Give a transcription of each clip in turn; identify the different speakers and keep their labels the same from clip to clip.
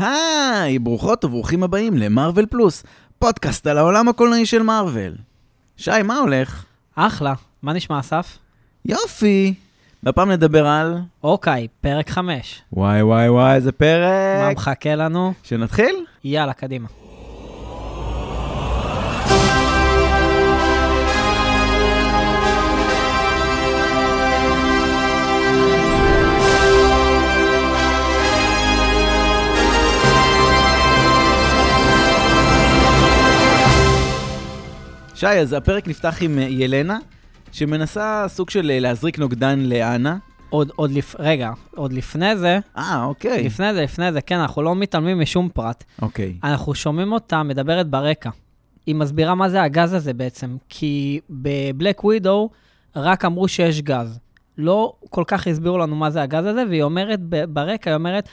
Speaker 1: היי, ברוכות וברוכים הבאים למרוויל פלוס, פודקאסט על העולם הקולנועי של מארוול. שי, מה הולך?
Speaker 2: אחלה. מה נשמע, אסף?
Speaker 1: יופי. והפעם נדבר על...
Speaker 2: אוקיי, פרק 5.
Speaker 1: וואי וואי וואי, איזה
Speaker 2: מה
Speaker 1: פרק.
Speaker 2: מחכה לנו?
Speaker 1: שנתחיל?
Speaker 2: יאללה, קדימה.
Speaker 1: שי, אז הפרק נפתח עם אה, ילנה, שמנסה סוג של אה, להזריק נוגדן לאנה.
Speaker 2: עוד, עוד לפ... רגע, עוד לפני זה,
Speaker 1: אה, אוקיי.
Speaker 2: לפני זה, לפני זה, כן, אנחנו לא מתעלמים משום פרט.
Speaker 1: אוקיי.
Speaker 2: אנחנו שומעים אותה מדברת ברקע. היא מסבירה מה זה הגז הזה בעצם, כי בבלק ווידו רק אמרו שיש גז. לא כל כך הסבירו לנו מה זה הגז הזה, והיא אומרת ב- ברקע, היא אומרת,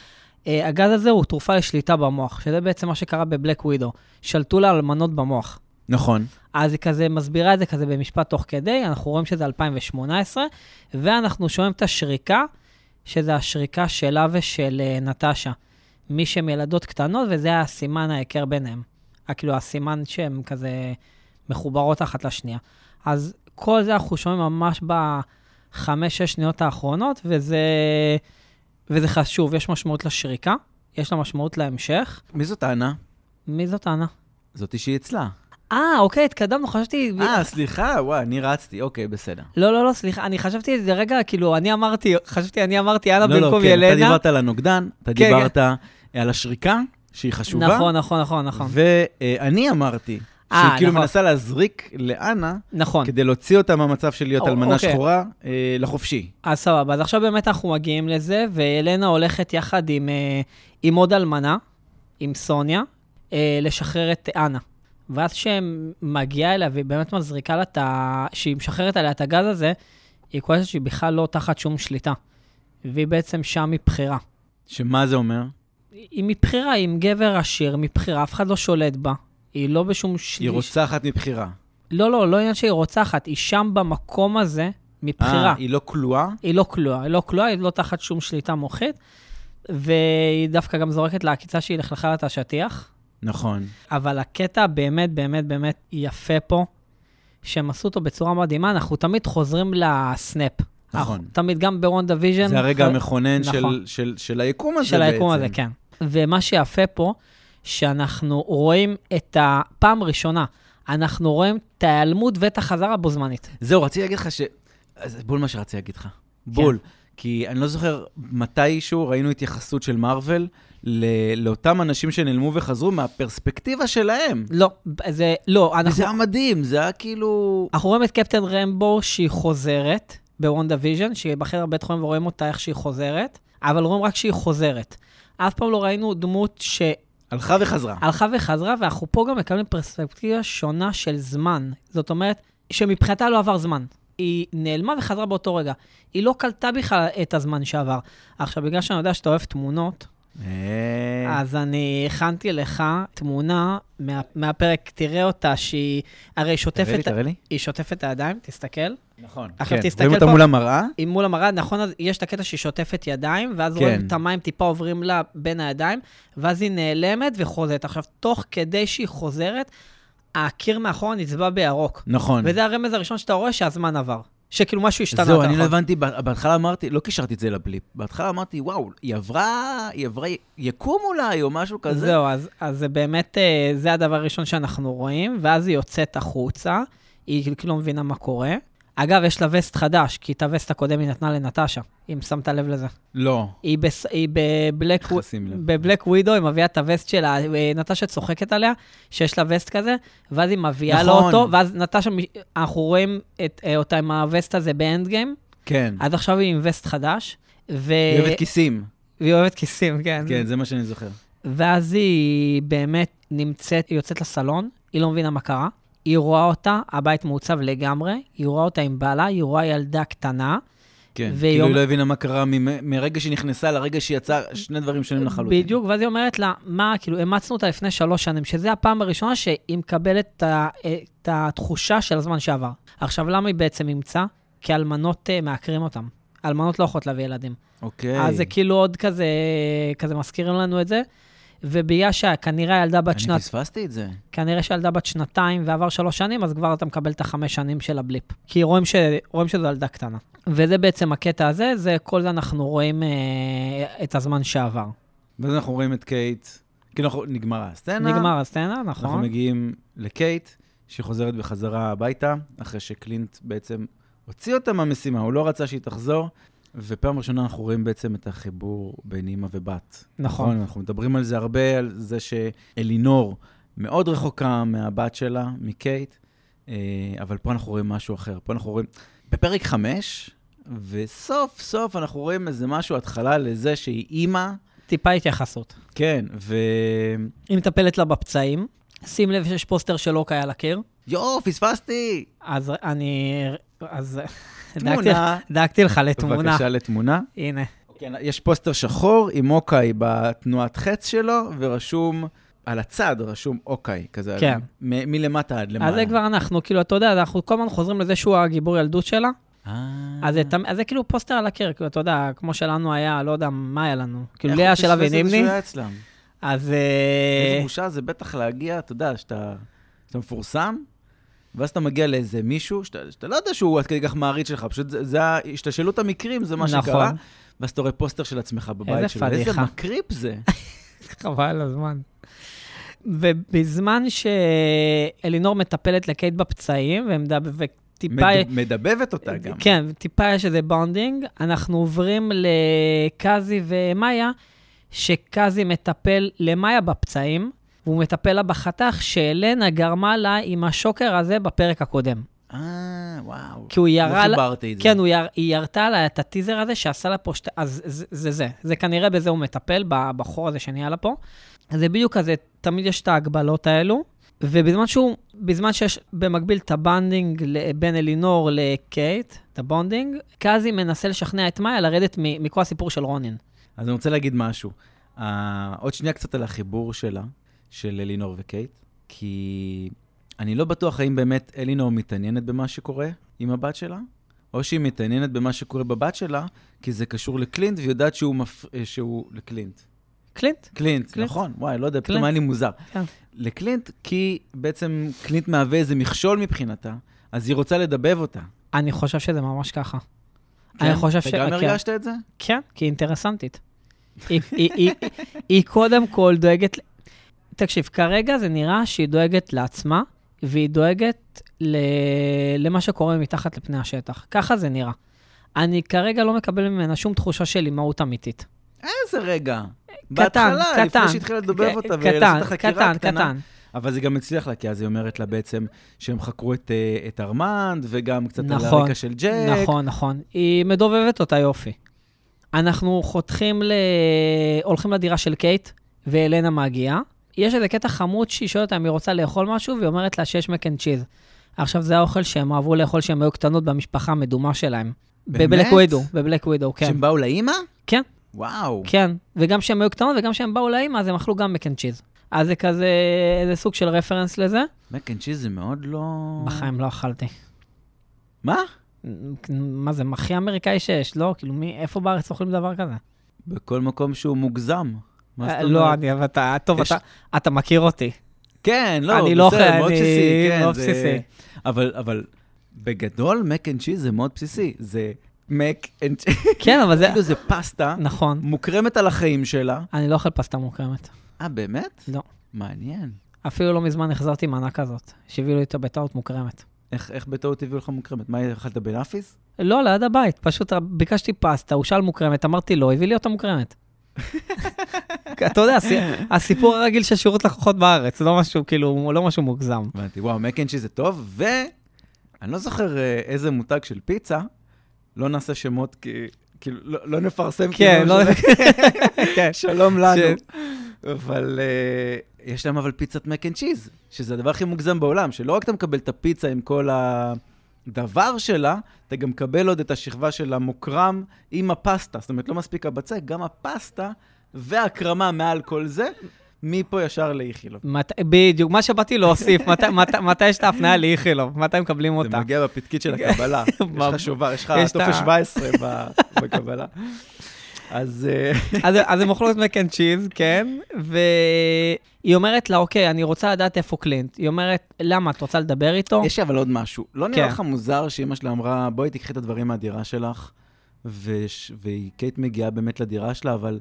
Speaker 2: "אה, הגז הזה הוא תרופה לשליטה במוח, שזה בעצם מה שקרה בבלק ווידו. שלטו לה אלמנות במוח.
Speaker 1: נכון.
Speaker 2: אז היא כזה מסבירה את זה כזה במשפט תוך כדי, אנחנו רואים שזה 2018, ואנחנו שומעים את השריקה, שזה השריקה שלה ושל אה, נטשה. מי שהם ילדות קטנות, וזה הסימן ההיכר ביניהם. ה- כאילו הסימן שהן כזה מחוברות אחת לשנייה. אז כל זה אנחנו שומעים ממש בחמש-שש שניות האחרונות, וזה, וזה חשוב, יש משמעות לשריקה, יש לה משמעות להמשך.
Speaker 1: מי זאת אנה?
Speaker 2: מי זאת אנה?
Speaker 1: זאתי שהיא אצלה.
Speaker 2: אה, אוקיי, התקדמנו, חשבתי...
Speaker 1: אה, סליחה, וואי, אני רצתי, אוקיי, בסדר.
Speaker 2: לא, לא, לא, סליחה, אני חשבתי את זה רגע, כאילו, אני אמרתי, חשבתי, אני אמרתי, יאללה,
Speaker 1: לא, לא,
Speaker 2: במקום
Speaker 1: כן, אתה
Speaker 2: ילנה.
Speaker 1: דיברת על הנוגדן, אתה
Speaker 2: כן.
Speaker 1: דיברת על השריקה, שהיא חשובה.
Speaker 2: נכון, נכון, נכון, נכון.
Speaker 1: ואני אמרתי,
Speaker 2: אה,
Speaker 1: שהיא כאילו
Speaker 2: נכון.
Speaker 1: מנסה להזריק לאנה,
Speaker 2: נכון,
Speaker 1: כדי להוציא אותה מהמצב של להיות
Speaker 2: או-
Speaker 1: אלמנה
Speaker 2: אוקיי.
Speaker 1: שחורה, אה, לחופשי.
Speaker 2: אז סבבה, אז עכשיו באמת אנחנו מגיעים לזה, ואלנה הולכת יחד עם, אה, עם עוד אלמנה, עם סוניה, אה, לשחרר את אנה. ואז כשהיא מגיעה אליה והיא באמת מזריקה לה את ה... שהיא משחררת עליה את הגז הזה, היא כועסת שהיא בכלל לא תחת שום שליטה. והיא בעצם שם מבחירה.
Speaker 1: שמה זה אומר?
Speaker 2: היא מבחירה, היא עם גבר עשיר, מבחירה, אף אחד לא שולט בה. היא לא בשום שליש.
Speaker 1: היא רוצחת מבחירה.
Speaker 2: לא, לא, לא עניין שהיא רוצחת, היא שם במקום הזה מבחירה.
Speaker 1: אה, היא לא כלואה?
Speaker 2: היא לא כלואה, היא לא כלואה, היא לא תחת שום שליטה מוחית, והיא דווקא גם זורקת לה עקיצה שהיא לכלכה לה את השטיח.
Speaker 1: נכון.
Speaker 2: אבל הקטע באמת, באמת, באמת יפה פה, שהם עשו אותו בצורה מדהימה, אנחנו תמיד חוזרים לסנאפ.
Speaker 1: נכון.
Speaker 2: אנחנו תמיד, גם בוונדה ויז'ן.
Speaker 1: זה הרגע
Speaker 2: ח-
Speaker 1: המכונן של-
Speaker 2: כן, נכון.
Speaker 1: של- של היקום הזה בעצם.
Speaker 2: של היקום הזה, כן. ומה שיפה פה, שאנחנו רואים את הפעם הראשונה, אנחנו רואים את ההיעלמות ואת החזרה בו זמנית.
Speaker 1: זהו, רציתי להגיד לך ש... אז זה בול מה שרציתי להגיד לך. בול.
Speaker 2: כן.
Speaker 1: כי אני לא זוכר מתישהו ראינו התייחסות של מארוול ל- לאותם אנשים שנעלמו וחזרו מהפרספקטיבה שלהם.
Speaker 2: לא, זה, לא, אנחנו,
Speaker 1: זה היה מדהים, זה היה כאילו...
Speaker 2: אנחנו רואים את קפטן רמבו שהיא חוזרת בוונדה ויז'ן, שהיא בחדר בית חולים ורואים אותה איך שהיא חוזרת, אבל רואים רק שהיא חוזרת. אף פעם לא ראינו דמות שהלכה
Speaker 1: הלכה וחזרה.
Speaker 2: וחזרה, ואנחנו פה גם מקבלים פרספקטיבה שונה של זמן. זאת אומרת, שמבחינתה לא עבר זמן. היא נעלמה וחזרה באותו רגע. היא לא קלטה בכלל את הזמן שעבר. עכשיו, בגלל שאני יודע שאתה אוהב תמונות,
Speaker 1: אה,
Speaker 2: אז אני הכנתי לך תמונה מה, מהפרק, תראה אותה, שהיא הרי
Speaker 1: תראה לי,
Speaker 2: שוטפת,
Speaker 1: תראה לי.
Speaker 2: היא שוטפת את הידיים, תסתכל.
Speaker 1: נכון.
Speaker 2: עכשיו
Speaker 1: כן.
Speaker 2: תסתכל
Speaker 1: רואים אותה
Speaker 2: פה.
Speaker 1: מול המראה?
Speaker 2: היא מול המראה, נכון, אז יש את הקטע שהיא שוטפת ידיים, ואז
Speaker 1: כן.
Speaker 2: כן. רואים את המים טיפה עוברים לה בין הידיים, ואז היא נעלמת וחוזרת. עכשיו, תוך כדי שהיא חוזרת, הקיר מאחורה נצבע בירוק.
Speaker 1: נכון.
Speaker 2: וזה הרמז הראשון שאתה רואה שהזמן עבר. שכאילו משהו השתנה. נכון.
Speaker 1: זהו,
Speaker 2: אתה
Speaker 1: אני לא
Speaker 2: יכול-
Speaker 1: הבנתי, בה- בהתחלה אמרתי, לא קישרתי את זה לבליפ. בהתחלה אמרתי, וואו, היא עברה, היא עברה יקום אולי, או משהו כזה.
Speaker 2: זהו, אז, אז זה באמת, אה, זה הדבר הראשון שאנחנו רואים, ואז היא יוצאת החוצה, היא כאילו- כאילו לא מבינה מה קורה. אגב, יש לה וסט חדש, כי את הווסט הקודם היא נתנה לנטשה, אם שמת לב לזה.
Speaker 1: לא.
Speaker 2: היא, בס... היא בבלק...
Speaker 1: איך לשים לב?
Speaker 2: בבלק ווידו, היא מביאה את הווסט שלה, אה, נטשה צוחקת עליה, שיש לה וסט כזה, ואז היא מביאה
Speaker 1: נכון.
Speaker 2: לו אותו, ואז נטשה, מ- אנחנו רואים את, אה, אותה עם הווסט הזה באנד גיים,
Speaker 1: כן.
Speaker 2: אז אה, עכשיו היא עם וסט חדש, ו...
Speaker 1: היא אוהבת כיסים.
Speaker 2: והיא אוהבת כיסים, כן.
Speaker 1: כן, זה מה שאני זוכר.
Speaker 2: ואז היא באמת נמצאת, היא יוצאת לסלון, היא לא מבינה מה קרה, היא רואה אותה, הבית מעוצב לגמרי, היא רואה אותה עם בעלה, היא רואה ילדה קטנה,
Speaker 1: כן. כאילו
Speaker 2: והיא
Speaker 1: היא
Speaker 2: אומר-
Speaker 1: לא הבינה מה קרה ממ- מרגע שהיא נכנסה לרגע שהיא יצאה, שני דברים שונים לחלוטין.
Speaker 2: בדיוק, ואז היא אומרת לה, מה, כאילו, אימצנו אותה לפני שלוש שנים, שזה הפעם הראשונה שהיא מקבלת את ה- את התחושה של הזמן שעבר. עכשיו, למה היא בעצם אימצה? כי אלמנות אה, מעקרים אותם. אלמנות לא יכולות להביא ילדים.
Speaker 1: אוקיי.
Speaker 2: אז זה כאילו עוד כזה, כזה מזכירים לנו את זה. וביאשה, כנראה הילדה בת
Speaker 1: אני
Speaker 2: שנת...
Speaker 1: פספסתי את זה.
Speaker 2: כנראה שהילדה בת שנתיים ועבר שלוש שנים, אז כבר אתה מקבל את החמש שנים של הבליפ. כי רואים, ש... רואים שזו ילדה קטנה. וזה בעצם הקטע הזה, זה כל זה אנחנו רואים אה, את הזמן שעבר.
Speaker 1: ואז אנחנו רואים את קייט, כאילו אנחנו- נגמרה הסצנה.
Speaker 2: נגמר הסצנה,
Speaker 1: אנחנו
Speaker 2: נכון?
Speaker 1: מגיעים לקייט, שחוזרת בחזרה הביתה, אחרי שקלינט בעצם הוציא אותה מהמשימה, הוא לא רצה שהיא תחזור, ופעם ראשונה אנחנו רואים בעצם את החיבור בין אימא ובת.
Speaker 2: נכון.
Speaker 1: אנחנו מדברים על זה הרבה, על זה שאלינור מאוד רחוקה מהבת שלה, מקייט, אה, אבל פה אנחנו רואים משהו אחר. פה אנחנו רואים, בפרק חמש, וסוף סוף אנחנו רואים איזה משהו, התחלה לזה שהיא אימא,
Speaker 2: טיפה התייחסות.
Speaker 1: כן, ו...
Speaker 2: היא מטפלת לה בפצעים. שים לב שיש פוסטר של אוקיי על הקיר.
Speaker 1: יואו, פספסתי!
Speaker 2: אז אני... אז... דאגתי-
Speaker 1: תמונה.
Speaker 2: דאגתי לך לתמונה.
Speaker 1: בבקשה לתמונה.
Speaker 2: הנה.
Speaker 1: כן, יש פוסטר שחור עם אוקיי בתנועת חץ שלו, ורשום, על הצד רשום אוקיי, כזה, על-
Speaker 2: כן.
Speaker 1: מ- מלמטה עד למעלה.
Speaker 2: אז זה כבר אנחנו, כאילו, אתה יודע, אנחנו כל הזמן חוזרים לזה שהוא הגיבור ילדות שלה.
Speaker 1: אה.
Speaker 2: אז זה תמ- אז זה כאילו פוסטר על הקיר, כאילו, אתה יודע, כמו שלנו היה, לא יודע מה היה לנו. כאילו,
Speaker 1: איך
Speaker 2: לאה
Speaker 1: הוא
Speaker 2: שלה
Speaker 1: פספס את זה
Speaker 2: ונימני,
Speaker 1: שהוא היה אצלם?
Speaker 2: אז...
Speaker 1: איזה
Speaker 2: אה,
Speaker 1: בושה זה בטח להגיע, אתה יודע, שאתה שאתה מפורסם, ואז אתה מגיע לאיזה מישהו, שאתה שאתה לא יודע שהוא עד כדי כך מעריץ שלך, פשוט זה- זה ה- השתלשלות המקרים, זה מה
Speaker 2: נכון.
Speaker 1: שקרה, ואז אתה רואה פוסטר של עצמך בבית
Speaker 2: איזה
Speaker 1: שלו. איזה
Speaker 2: פדיחה.
Speaker 1: מקריפ זה.
Speaker 2: חבל על הזמן. ובזמן שאלינור מטפלת לקייט בפצעים, ומד- וטיפה...
Speaker 1: מד- מדבבת אותה גם.
Speaker 2: כן, טיפה יש איזה בונדינג. אנחנו עוברים לקאזי ומאיה, שקאזי מטפל למאיה בפצעים, והוא מטפל לה בחתך שהלנה גרמה לה עם השוקר הזה בפרק הקודם.
Speaker 1: אה, וואו.
Speaker 2: כי הוא ירה
Speaker 1: לא
Speaker 2: לה...
Speaker 1: חיברתי את זה.
Speaker 2: כן, הוא יר... היא ירתה לה את הטיזר הזה שעשה לה פה שתי... אז זה זה. זה, זה כנראה בזה הוא מטפל, בבחור הזה שנהיה לה פה. זה בדיוק כזה, תמיד יש את ההגבלות האלו. ובזמן שהוא, בזמן שיש במקביל את הבנדינג ל- בין אלינור לקייט, את הבונדינג, קאזי מנסה לשכנע את מאיה לרדת מ- מכל הסיפור של רונין.
Speaker 1: אז אני רוצה להגיד משהו. Uh, עוד שנייה קצת על החיבור שלה, של אלינור וקייט, כי אני לא בטוח האם באמת אלינור מתעניינת במה שקורה עם הבת שלה, או שהיא מתעניינת במה שקורה בבת שלה, כי זה קשור לקלינט, והיא יודעת שהוא מפ... אה, שהוא... לקלינט.
Speaker 2: קלינט?
Speaker 1: קלינט,
Speaker 2: קלינט.
Speaker 1: נכון, וואי, לא יודע, פתאום
Speaker 2: קלינט.
Speaker 1: היה לי מוזר.
Speaker 2: כן.
Speaker 1: לקלינט, כי בעצם קלינט מהווה איזה מכשול מבחינתה, אז היא רוצה לדבב אותה.
Speaker 2: אני חושב שזה ממש ככה. אני חושב ש...
Speaker 1: אתה גם
Speaker 2: כן.
Speaker 1: הרגשת את זה?
Speaker 2: כן, כי היא אינטרסנטית. היא, היא, היא, היא קודם כל דואגת... ל- תקשיב, כרגע זה נראה שהיא דואגת לעצמה, והיא דואגת ל... למה שקורה מתחת לפני השטח. ככה זה נראה. אני כרגע לא מקבל ממנה שום תחושה של אימהות אמיתית.
Speaker 1: איזה רגע.
Speaker 2: קטן,
Speaker 1: בהתחלה,
Speaker 2: קטן.
Speaker 1: לפני שהתחילה לדובב
Speaker 2: ק-
Speaker 1: אותה ולעשות
Speaker 2: קטן,
Speaker 1: את החקירה
Speaker 2: קטן,
Speaker 1: הקטנה.
Speaker 2: קטן.
Speaker 1: אבל זה גם הצליח לה, כי אז היא אומרת לה בעצם שהם חקרו את, אה, את ארמנד, וגם קצת על
Speaker 2: נכון,
Speaker 1: הרקע של ג'ק.
Speaker 2: נכון, נכון. היא מדובבת אותה יופי. אנחנו חותכים ל... הולכים לדירה של קייט, והלנה מגיעה. יש איזה קטע חמוד שהיא שואלת אותה אם היא רוצה לאכול משהו, והיא אומרת לה שיש מק אנד צ'יז. עכשיו, זה האוכל שהם אהבו לאכול כשהם היו קטנות במשפחה המדומה שלהם.
Speaker 1: באמת?
Speaker 2: בבלק ווידו, בבלק ווידו, כן.
Speaker 1: שהם באו לאימא?
Speaker 2: כן.
Speaker 1: וואו.
Speaker 2: כן, וגם כשהם היו קטנות וגם כשהם באו לאימא, אז הם אכלו גם מק אנד צ'יז. אז זה כזה, איזה סוג של רפרנס לזה.
Speaker 1: מק אנד צ'יז זה מאוד לא...
Speaker 2: בחיים לא אכלתי.
Speaker 1: מה?
Speaker 2: מה זה, הכי אמריקאי שיש, לא? כאילו, מי, איפה בארץ אוכלים דבר כזה?
Speaker 1: בכל מקום שהוא מוגזם. מה זאת
Speaker 2: אה,
Speaker 1: אומרת?
Speaker 2: לא, אני, אבל אתה, טוב,
Speaker 1: יש-
Speaker 2: אתה- אתה מכיר אותי.
Speaker 1: כן, לא,
Speaker 2: אני לא
Speaker 1: בסדר,
Speaker 2: אוכל,
Speaker 1: מאוד
Speaker 2: אני-
Speaker 1: בסיסי, כן,
Speaker 2: מאוד
Speaker 1: זה-
Speaker 2: בסיסי.
Speaker 1: אבל, אבל בגדול, מק אנד צ'יז זה מאוד בסיסי. זה מק אנד צ'יז,
Speaker 2: כן, אבל זה...
Speaker 1: כאילו זה פסטה,
Speaker 2: נכון,
Speaker 1: מוקרמת על החיים שלה.
Speaker 2: אני לא אוכל פסטה מוקרמת.
Speaker 1: אה, באמת?
Speaker 2: לא.
Speaker 1: מעניין.
Speaker 2: אפילו לא מזמן החזרתי מנה כזאת, שהביאו לי אותה בטעות מוקרמת.
Speaker 1: איך, איך בטעות הביאו לך מוקרמת? מה, אכלת בנאפיס?
Speaker 2: לא, ליד הבית, פשוט ביקשתי פסטה, הוא שאל מוקרמת, אמרתי לא, הביא לי אותה מוקרמת. אתה יודע, הסי- הסיפור הרגיל של שירות לקוחות בארץ, לא משהו, כאילו, לא משהו מוגזם.
Speaker 1: הבנתי, וואו, מק אנד צ'יז זה טוב, ואני לא זוכר אה, איזה מותג של פיצה, לא נעשה שמות, כי... כאילו, לא, לא נפרסם,
Speaker 2: כן,
Speaker 1: כאילו,
Speaker 2: לא...
Speaker 1: של-
Speaker 2: כן.
Speaker 1: שלום לנו.
Speaker 2: ש-
Speaker 1: אבל אה, יש להם אבל פיצת מק אנד צ'יז, שזה הדבר הכי מוגזם בעולם, שלא רק אתה מקבל את הפיצה עם כל הדבר שלה, אתה גם מקבל עוד את השכבה של המוקרם עם הפסטה. זאת אומרת, לא מספיק הבצק, גם הפסטה והקרמה מעל כל זה, מפה ישר לאיכילוב.
Speaker 2: מת- בדיוק, מה שבאתי להוסיף, מתי- מתי- מתי יש את ההפניה לאיכילוב? מתי מקבלים
Speaker 1: זה
Speaker 2: אותה?
Speaker 1: מגיע בפתקית של הקבלה. יש לך שובר, יש לך
Speaker 2: יש את
Speaker 1: טופס
Speaker 2: ה-
Speaker 1: 17 ב- בקבלה. אז אה,
Speaker 2: אז אז הם אוכלות מק אנד צ'יז, כן, והיא אומרת לה, אוקיי, אני רוצה לדעת איפה קלינט. היא אומרת, למה, את רוצה לדבר איתו?
Speaker 1: יש לי אבל עוד משהו. לא נראה
Speaker 2: כן.
Speaker 1: לך מוזר שאימא שלה אמרה, בואי תקחי את הדברים מהדירה שלך, וש- וקייט מגיעה באמת לדירה שלה, אבל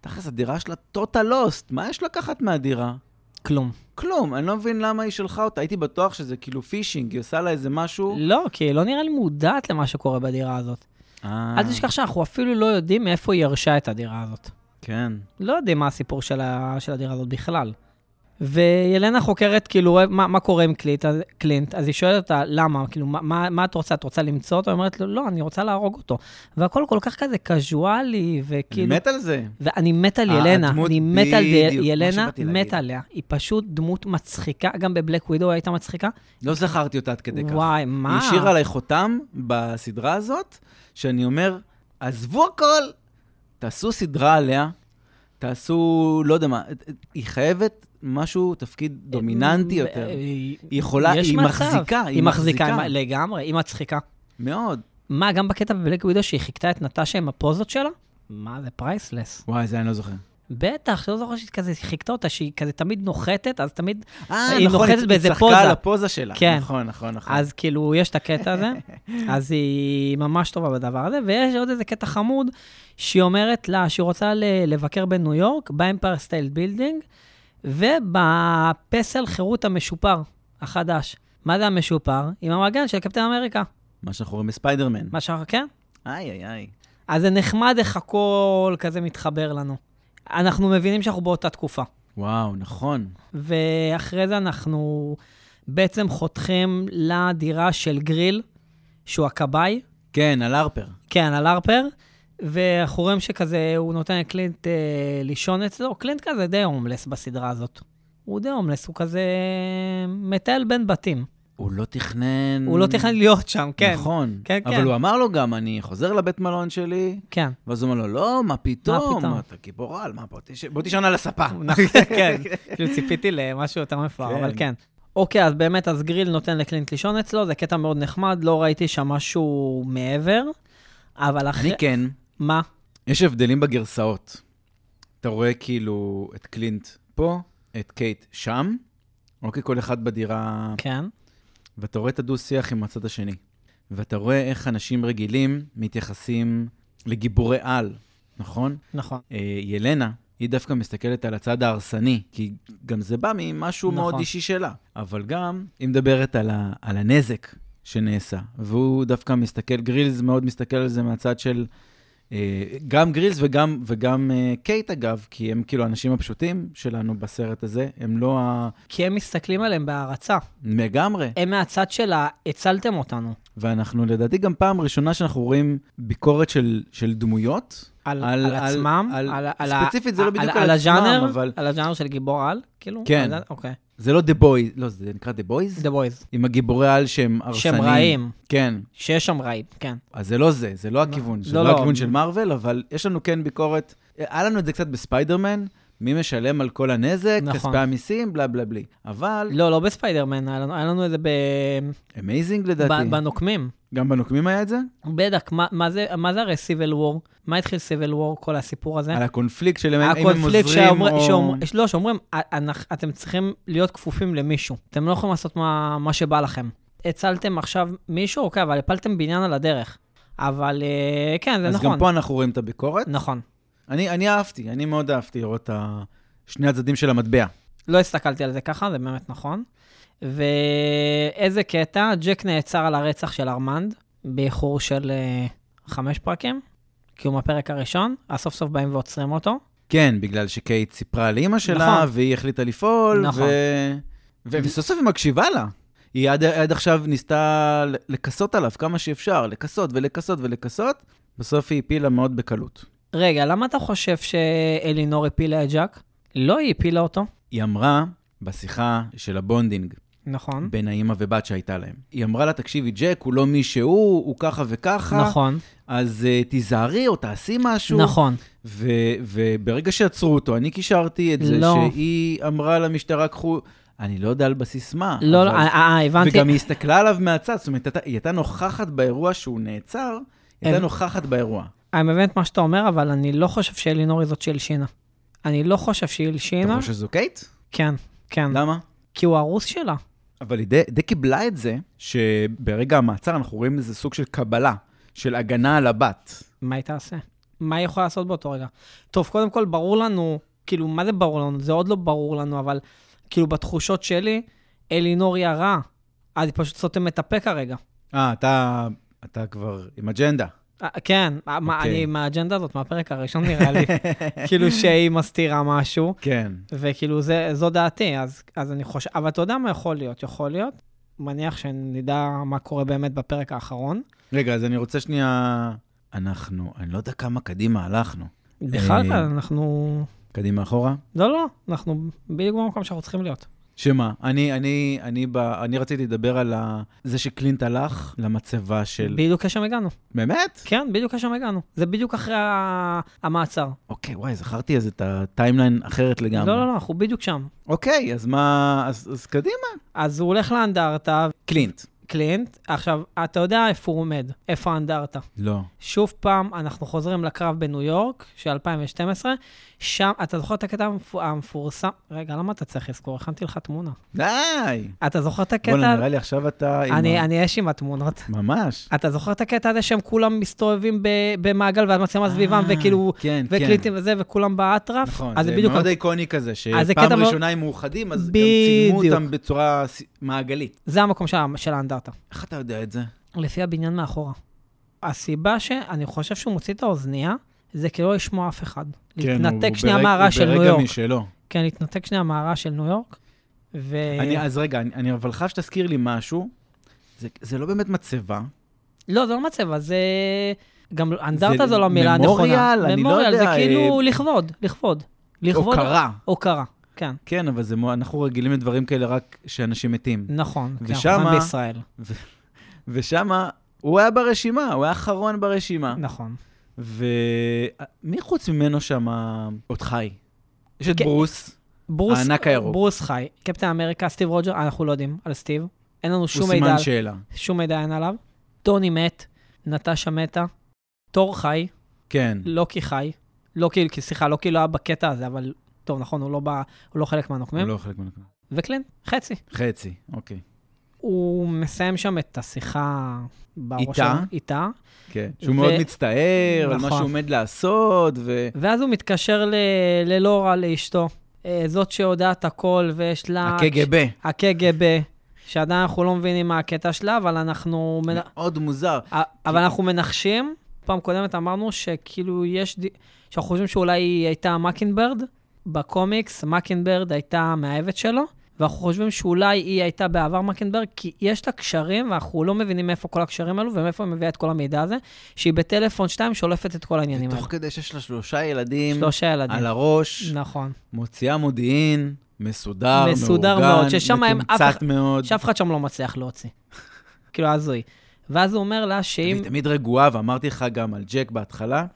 Speaker 1: תכלס, הדירה שלה total lost, מה יש לקחת מהדירה?
Speaker 2: כלום.
Speaker 1: כלום, אני לא מבין למה היא שלחה אותה, הייתי בטוח שזה כאילו פישינג, היא עושה לה איזה משהו.
Speaker 2: לא, כי היא לא נראה לי מודעת למה שקורה בדירה הזאת.
Speaker 1: אה,
Speaker 2: אל תשכח שאנחנו אפילו לא יודעים מאיפה היא ירשה את הדירה הזאת.
Speaker 1: כן.
Speaker 2: לא יודעים מה הסיפור של, ה... של הדירה הזאת בכלל. וילנה חוקרת, כאילו, מה, מה קורה עם קלינט, אז, קלינט, אז היא שואלת אותה, למה, כאילו, מה, מה, מה את רוצה? את רוצה למצוא אותו? היא אומרת לו, לא, אני רוצה להרוג אותו. והכל כל כך כזה קזואלי,
Speaker 1: אני
Speaker 2: וכאילו...
Speaker 1: מת על זה.
Speaker 2: ואני מת על
Speaker 1: אה,
Speaker 2: ילנה,
Speaker 1: הדמות
Speaker 2: אני מת על די-
Speaker 1: בדיוק, מה
Speaker 2: ילנה,
Speaker 1: שבאתי להגיד.
Speaker 2: מת עליה. היא פשוט דמות מצחיקה, גם בבלק ווידו הייתה מצחיקה.
Speaker 1: לא זכרתי אותה עד כדי כך.
Speaker 2: וואי, מה?
Speaker 1: היא השאירה עליי חותם בסדרה הזאת, שאני אומר, עזבו הכל, תעשו סדרה עליה, תעשו, לא יודע מה, היא חייבת משהו, תפקיד דומיננטי
Speaker 2: אה,
Speaker 1: יותר.
Speaker 2: אה,
Speaker 1: היא יכולה,
Speaker 2: יש
Speaker 1: היא
Speaker 2: מצב.
Speaker 1: מחזיקה,
Speaker 2: היא מחזיקה מה- לגמרי, היא מצחיקה.
Speaker 1: מאוד.
Speaker 2: מה, גם בקטע בבלק ווידו שהיא חיכתה את נטשה עם הפוזות שלה? מה, זה פרייסלס.
Speaker 1: וואי, זה אני לא זוכר.
Speaker 2: בטח, לא זוכר שהיא כזה חיכתה אותה, שהיא כזה תמיד נוחתת, אז תמיד...
Speaker 1: אה,
Speaker 2: היא
Speaker 1: נכון,
Speaker 2: נוחתת באיזה
Speaker 1: צחקה
Speaker 2: פוזה.
Speaker 1: על הפוזה שלה.
Speaker 2: כן.
Speaker 1: נכון, נכון, נכון.
Speaker 2: אז כאילו, יש את הקטע הזה, אז היא ממש טובה בדבר הזה, ויש עוד איזה קטע חמוד, שהיא אומרת לה שהיא רוצה ל- לבקר בניו יורק, באמפייר סטייל בילדינג, ובפסל חירות המשופר החדש. מה זה המשופר? עם המגן של קפטן אמריקה.
Speaker 1: מה שאנחנו רואים בספיידרמן.
Speaker 2: מה שאנחנו, כן?
Speaker 1: איי, איי, איי.
Speaker 2: אז זה נחמד איך הכל כזה מתחבר לנו. אנחנו מבינים שאנחנו באותה תקופה.
Speaker 1: וואו, נכון.
Speaker 2: ואחרי זה אנחנו בעצם חותכים לדירה של גריל, שהוא הכבאי,
Speaker 1: כן, על הרפר.
Speaker 2: כן, על הרפר, ואנחנו רואים שכזה, הוא נותן לקלינט אה, לישון אצלו, קלינט כזה די הומלס בסדרה הזאת. הוא די הומלס, הוא כזה אה, מטייל בין בתים.
Speaker 1: הוא לא תכנן...
Speaker 2: הוא לא תכנן להיות שם, כן.
Speaker 1: נכון.
Speaker 2: כן, כן.
Speaker 1: אבל הוא אמר לו גם, אני חוזר לבית מלון שלי,
Speaker 2: כן.
Speaker 1: ואז הוא אומר לו, לא, מה פתאום?
Speaker 2: מה פתאום?"
Speaker 1: אתה גיבור על, מה, בוא, תש... בוא תישן על הספה.
Speaker 2: כן, כאילו ציפיתי למשהו יותר מפואר,
Speaker 1: כן.
Speaker 2: אבל כן. אוקיי, אז באמת, אז גריל נותן לקלינט לישון אצלו, זה קטע מאוד נחמד, לא ראיתי שם משהו מעבר, אבל אחרי...
Speaker 1: אני כן,
Speaker 2: מה?
Speaker 1: יש הבדלים בגרסאות. אתה רואה כאילו את קלינט פה, את קייט שם, אוקיי, כל אחד בדירה,
Speaker 2: כן.
Speaker 1: ואתה רואה את הדו-שיח עם הצד השני. ואתה רואה איך אנשים רגילים מתייחסים לגיבורי על, נכון?
Speaker 2: נכון.
Speaker 1: אה, ילנה, היא דווקא מסתכלת על הצד ההרסני, כי גם זה בא ממשהו
Speaker 2: נכון.
Speaker 1: נכון. מאוד אישי שלה. אבל גם, היא מדברת על, ה, על הנזק שנעשה, והוא דווקא מסתכל, גרילס מאוד מסתכל על זה מהצד של... אה, גם גרילס וגם, וגם אה, קייט, אגב, כי הם כאילו האנשים הפשוטים שלנו בסרט הזה, הם לא ה...
Speaker 2: כי הם מסתכלים עליהם בהערצה.
Speaker 1: לגמרי.
Speaker 2: הם מהצד של ה... הצלתם אותנו.
Speaker 1: ואנחנו, לדעתי, גם פעם ראשונה שאנחנו רואים ביקורת של, של דמויות. על-
Speaker 2: על, על, על
Speaker 1: על-
Speaker 2: עצמם,
Speaker 1: על-
Speaker 2: ה-
Speaker 1: ספציפית זה לא בדיוק על עצמם,
Speaker 2: הז'אנר,
Speaker 1: אבל-
Speaker 2: על הז'אנר של גיבור על, כאילו?
Speaker 1: כן.
Speaker 2: על- אוקיי.
Speaker 1: זה לא The Boys, לא, זה נקרא The Boys?
Speaker 2: The Boys.
Speaker 1: עם הגיבורי על שהם הרסניים.
Speaker 2: שהם רעים,
Speaker 1: כן,
Speaker 2: שיש שם רעים, כן.
Speaker 1: אז זה לא זה, זה לא הכיוון, זה
Speaker 2: לא,
Speaker 1: לא
Speaker 2: לא.
Speaker 1: הכיוון של מארוול, אבל יש לנו כן ביקורת. היה לנו את זה קצת בספיידרמן, מי משלם על כל הנזק,
Speaker 2: נכון.
Speaker 1: כספי המיסים, בלה בלה בלי. אבל,
Speaker 2: לא, לא בספיידרמן, היה לנו- היה לנו את זה ב...
Speaker 1: אמייזינג
Speaker 2: ב-
Speaker 1: לדעתי.
Speaker 2: בנוקמים.
Speaker 1: גם בנוקמים היה את זה?
Speaker 2: בטח, מה, מה, זה- מה זה הרי סיבל וור? מה התחיל סיבל וור, כל הסיפור הזה?
Speaker 1: על הקונפליקט של אם הם
Speaker 2: כן. הקונפליקט
Speaker 1: עוזרים
Speaker 2: שאומר-
Speaker 1: או...
Speaker 2: שאומר- לא, שאומרים, "א- אנ- אתם צריכים להיות כפופים למישהו. אתם לא יכולים לעשות מה, מה שבא לכם. הצלתם עכשיו מישהו, אוקיי, אבל הפלתם בניין על הדרך. אבל אה, כן, זה
Speaker 1: אז
Speaker 2: נכון.
Speaker 1: גם פה אנחנו רואים את הביקורת.
Speaker 2: נכון.
Speaker 1: אני אני אהבתי, אני מאוד אהבתי לראות את ה- שני הצדדים של המטבע.
Speaker 2: לא הסתכלתי על זה ככה, זה באמת נכון. ואיזה קטע, ג'ק נעצר על הרצח של ארמנד, באיחור של אה, חמש פרקים, כי הוא מהפרק הראשון, אז סוף סוף באים ועוצרים אותו.
Speaker 1: כן, בגלל שקייט סיפרה לאימא שלה,
Speaker 2: נכון.
Speaker 1: נכון. והיא החליטה לפעול,
Speaker 2: נכון.
Speaker 1: נכון. ו... ו... וסוף סוף היא מקשיבה לה. היא עד, עד עכשיו ניסתה ל- לכסות עליו כמה שאפשר, לכסות ולכסות ולכסות, בסוף היא הפילה מאוד בקלות.
Speaker 2: רגע, למה אתה חושב שאלינור הפילה את ג'ק? לא, היא הפילה אותו.
Speaker 1: היא אמרה בשיחה של הבונדינג
Speaker 2: נכון.
Speaker 1: בין האימא ובת שהייתה להם, היא אמרה לה, תקשיבי, ג'ק הוא לא מי שהוא, הוא ככה וככה,
Speaker 2: נכון,
Speaker 1: אז uh, תיזהרי או תעשי משהו.
Speaker 2: נכון.
Speaker 1: ו- וברגע שעצרו אותו, אני קישרתי את זה
Speaker 2: לא.
Speaker 1: שהיא אמרה למשטרה, קחו... אני לא יודע על בסיס מה.
Speaker 2: לא, לא,
Speaker 1: אבל-
Speaker 2: אה, אה, הבנתי.
Speaker 1: וגם היא הסתכלה עליו מהצד, זאת אומרת, הייתה- היא הייתה נוכחת באירוע שהוא נעצר, היא הייתה
Speaker 2: הבנ-
Speaker 1: נוכחת באירוע.
Speaker 2: אני מבין את מה שאתה אומר, אבל אני לא חושב שאלינור היא זאת שהלשינה. אני לא חושב שהיא
Speaker 1: אתה
Speaker 2: הלשינה.
Speaker 1: חושב שזו קייט?
Speaker 2: כן, כן.
Speaker 1: למה?
Speaker 2: כי הוא הרוס שלה.
Speaker 1: אבל היא די, די קיבלה את זה, שברגע המעצר אנחנו רואים איזה סוג של קבלה, של הגנה על הבת.
Speaker 2: מה היא תעשה? מה היא יכולה לעשות באותו רגע? טוב, קודם כל, ברור לנו, כאילו, מה זה ברור לנו? זה עוד לא ברור לנו, אבל כאילו, בתחושות שלי, אלינור היא הרעה. אז היא פשוט סותמת את הפה כרגע.
Speaker 1: אה, אתה, אתה כבר עם אג'נדה.
Speaker 2: אה, כן, אה, מה,
Speaker 1: אוקיי.
Speaker 2: אני עם האג'נדה הזאת מהפרק הראשון נראה לי, כאילו שהיא מסתירה משהו,
Speaker 1: כן.
Speaker 2: וכאילו זה, זו דעתי, אז, אז אני חושב, אבל אתה יודע מה יכול להיות? יכול להיות, מניח שנדע מה קורה באמת בפרק האחרון.
Speaker 1: רגע, אז אני רוצה שנייה... אנחנו, אני לא יודע כמה קדימה הלכנו.
Speaker 2: בכלל,
Speaker 1: אה.
Speaker 2: אנחנו...
Speaker 1: קדימה אחורה?
Speaker 2: לא, לא, אנחנו בדיוק במקום שאנחנו צריכים להיות.
Speaker 1: שמה, אני, אני, אני, ב... אני רציתי לדבר על ה... זה שקלינט הלך למצבה של... ב...
Speaker 2: בדיוק לשם הגענו.
Speaker 1: באמת?
Speaker 2: כן, בדיוק לשם הגענו. זה בדיוק אחרי ה- המעצר.
Speaker 1: אוקיי, וואי, זכרתי אז את הטיימליין אחרת
Speaker 2: לא,
Speaker 1: לגמרי.
Speaker 2: לא, לא, אנחנו בדיוק שם.
Speaker 1: אוקיי, אז מה... אז, אז קדימה.
Speaker 2: אז הוא הולך לאנדרטה,
Speaker 1: קלינט.
Speaker 2: קלינט, עכשיו, אתה יודע איפה הוא עומד, איפה האנדרטה.
Speaker 1: לא.
Speaker 2: שוב פעם, אנחנו חוזרים לקרב בניו יורק של 2012, שם, אתה זוכר את הקטע המפ- המפורסם? רגע, למה אתה צריך לזכור? הכנתי לך תמונה.
Speaker 1: די!
Speaker 2: אתה זוכר את
Speaker 1: בוא'נה,
Speaker 2: הקטע?
Speaker 1: נראה לי עכשיו אתה... עם
Speaker 2: אני
Speaker 1: ה-
Speaker 2: אני אש עם התמונות.
Speaker 1: ממש.
Speaker 2: אתה זוכר את הקטע הזה שהם כולם מסתובבים ב- במעגל והמצלמה סביבם,
Speaker 1: אה,
Speaker 2: וכאילו,
Speaker 1: כן, כן.
Speaker 2: וקליטים וזה, וכולם באטרף?
Speaker 1: נכון,
Speaker 2: אז
Speaker 1: זה
Speaker 2: בדיוק
Speaker 1: מאוד
Speaker 2: ה-
Speaker 1: איקוני כזה,
Speaker 2: אז זה קטע
Speaker 1: שפעם
Speaker 2: מאוד-
Speaker 1: ראשונה הם מאוחדים, אז גם צילמו
Speaker 2: בדיוק.
Speaker 1: אותם בצורה ס- מעגלית.
Speaker 2: זה המקום של, ה- של האנדרטה.
Speaker 1: איך אתה יודע את זה?
Speaker 2: לפי הבניין מאחורה. הסיבה שאני חושב שהוא מוציא את האוזנייה, זה כי לא לשמוע אף אחד. להתנתק שנייה מהרעש של ניו
Speaker 1: כן, הוא
Speaker 2: יורק.
Speaker 1: ברגע משלו.
Speaker 2: כן, להתנתק שנייה מהרעש של ניו יורק. ו...
Speaker 1: אני, אז רגע, אני, אני אבל חייב שתזכיר לי משהו. זה, זה לא באמת מצבה.
Speaker 2: לא, זה לא מצבע, זה... גם אנדרטה
Speaker 1: זה
Speaker 2: זו לא המילה הנכונה.
Speaker 1: ממוריאל, אני לא
Speaker 2: ממוריאל,
Speaker 1: יודע,
Speaker 2: זה כאילו
Speaker 1: אה,
Speaker 2: לכבוד, לכבוד. לכבוד.
Speaker 1: הוקרה.
Speaker 2: הוקרה, כן.
Speaker 1: כן, אבל זה, מו- אנחנו רגילים לדברים כאלה רק כשאנשים מתים.
Speaker 2: נכון, כי אנחנו
Speaker 1: ושמה-
Speaker 2: חיים בישראל.
Speaker 1: ושמה, הוא היה ברשימה, הוא היה האחרון ברשימה.
Speaker 2: נכון.
Speaker 1: ומי חוץ ממנו שמה עוד חי? יש את
Speaker 2: כן.
Speaker 1: ברוס,
Speaker 2: ברוס,
Speaker 1: הענק הירוק.
Speaker 2: ברוס חי, קפטן אמריקה, סטיב רוג'ר, אנחנו לא יודעים על סטיב. אין לנו
Speaker 1: הוא
Speaker 2: שום מידע,
Speaker 1: סימן
Speaker 2: על-
Speaker 1: שאלה.
Speaker 2: שום מידע אין עליו. טוני מת, נטשה מתה, תור חי,
Speaker 1: כן.
Speaker 2: לוקי חי. לוקי, כי- סליחה, לוקי לא היה בקטע הזה, אבל טוב, נכון, הוא לא, בא, הוא לא חלק
Speaker 1: הוא
Speaker 2: מהנוקמים.
Speaker 1: לא חלק מהנקמה.
Speaker 2: וקלין, חצי.
Speaker 1: חצי, אוקיי.
Speaker 2: הוא מסיים שם את השיחה בראש
Speaker 1: איתה?
Speaker 2: שלו, איתה,
Speaker 1: כן. שהוא
Speaker 2: ו-
Speaker 1: מאוד מצטער על מה
Speaker 2: נכון.
Speaker 1: שהוא עומד לעשות, ו...
Speaker 2: ואז הוא מתקשר ל... ללורה, לאשתו, אה, זאת שיודעת הכל ויש לה...
Speaker 1: הקג"ב.
Speaker 2: הקג"ב, שעדיין אנחנו לא מבינים מה הקטע שלה, אבל אנחנו, מנ...
Speaker 1: מאוד מוזר.
Speaker 2: אבל
Speaker 1: כאילו-
Speaker 2: אנחנו מנחשים. פעם קודמת אמרנו שכאילו יש... ד... שאנחנו חושבים שאולי היא הייתה מקינברד, בקומיקס מקינברד הייתה המאהבת שלו, ואנחנו חושבים שאולי היא הייתה בעבר מקינברד, כי יש לה קשרים, ואנחנו לא מבינים מאיפה כל הקשרים האלו ומאיפה היא מביאה את כל המידע הזה, שהיא בטלפון 2 שולפת את כל העניינים האלה.
Speaker 1: תוך כדי שיש לה שלושה ילדים
Speaker 2: שלושה ילדים.
Speaker 1: על הראש,
Speaker 2: נכון.
Speaker 1: מוציאה מודיעין, מסודר,
Speaker 2: מסודר
Speaker 1: מאורגן,
Speaker 2: מאוד, ששם הם אף
Speaker 1: מתומצת
Speaker 2: אחד-
Speaker 1: מאוד.
Speaker 2: שאף אחד שם לא מצליח להוציא. כאילו, הזוי. ואז הוא אומר לה שאם...
Speaker 1: והיא תמיד רגועה, ואמרתי לך גם על ג'ק בהתחלה,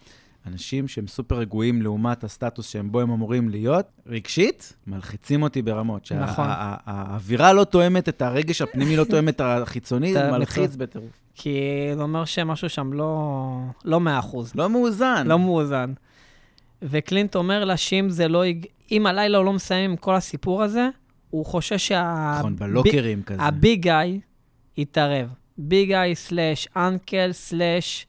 Speaker 1: אנשים שהם סופר רגועים לעומת הסטטוס שהם בו הם אמורים להיות, רגשית, מלחיצים אותי ברמות. שה-
Speaker 2: נכון.
Speaker 1: ה- ה- האווירה לא תואמת את הרגש הפנימי, לא תואם את החיצוני, זה
Speaker 2: אתה
Speaker 1: מלחיץ
Speaker 2: מצו-
Speaker 1: בטירוף.
Speaker 2: כי זה אומר שמשהו שם לא... לא מאה אחוז.
Speaker 1: לא מאוזן.
Speaker 2: לא מאוזן. וקלינט אומר לה שאם זה לא... יג- אם הלילה הוא לא מסיים עם כל הסיפור הזה, הוא חושש שה...
Speaker 1: נכון,
Speaker 2: ב-
Speaker 1: בלוקרים כזה.
Speaker 2: הביג גאי יתערב. ביג גאי סלאש אנקל סלאש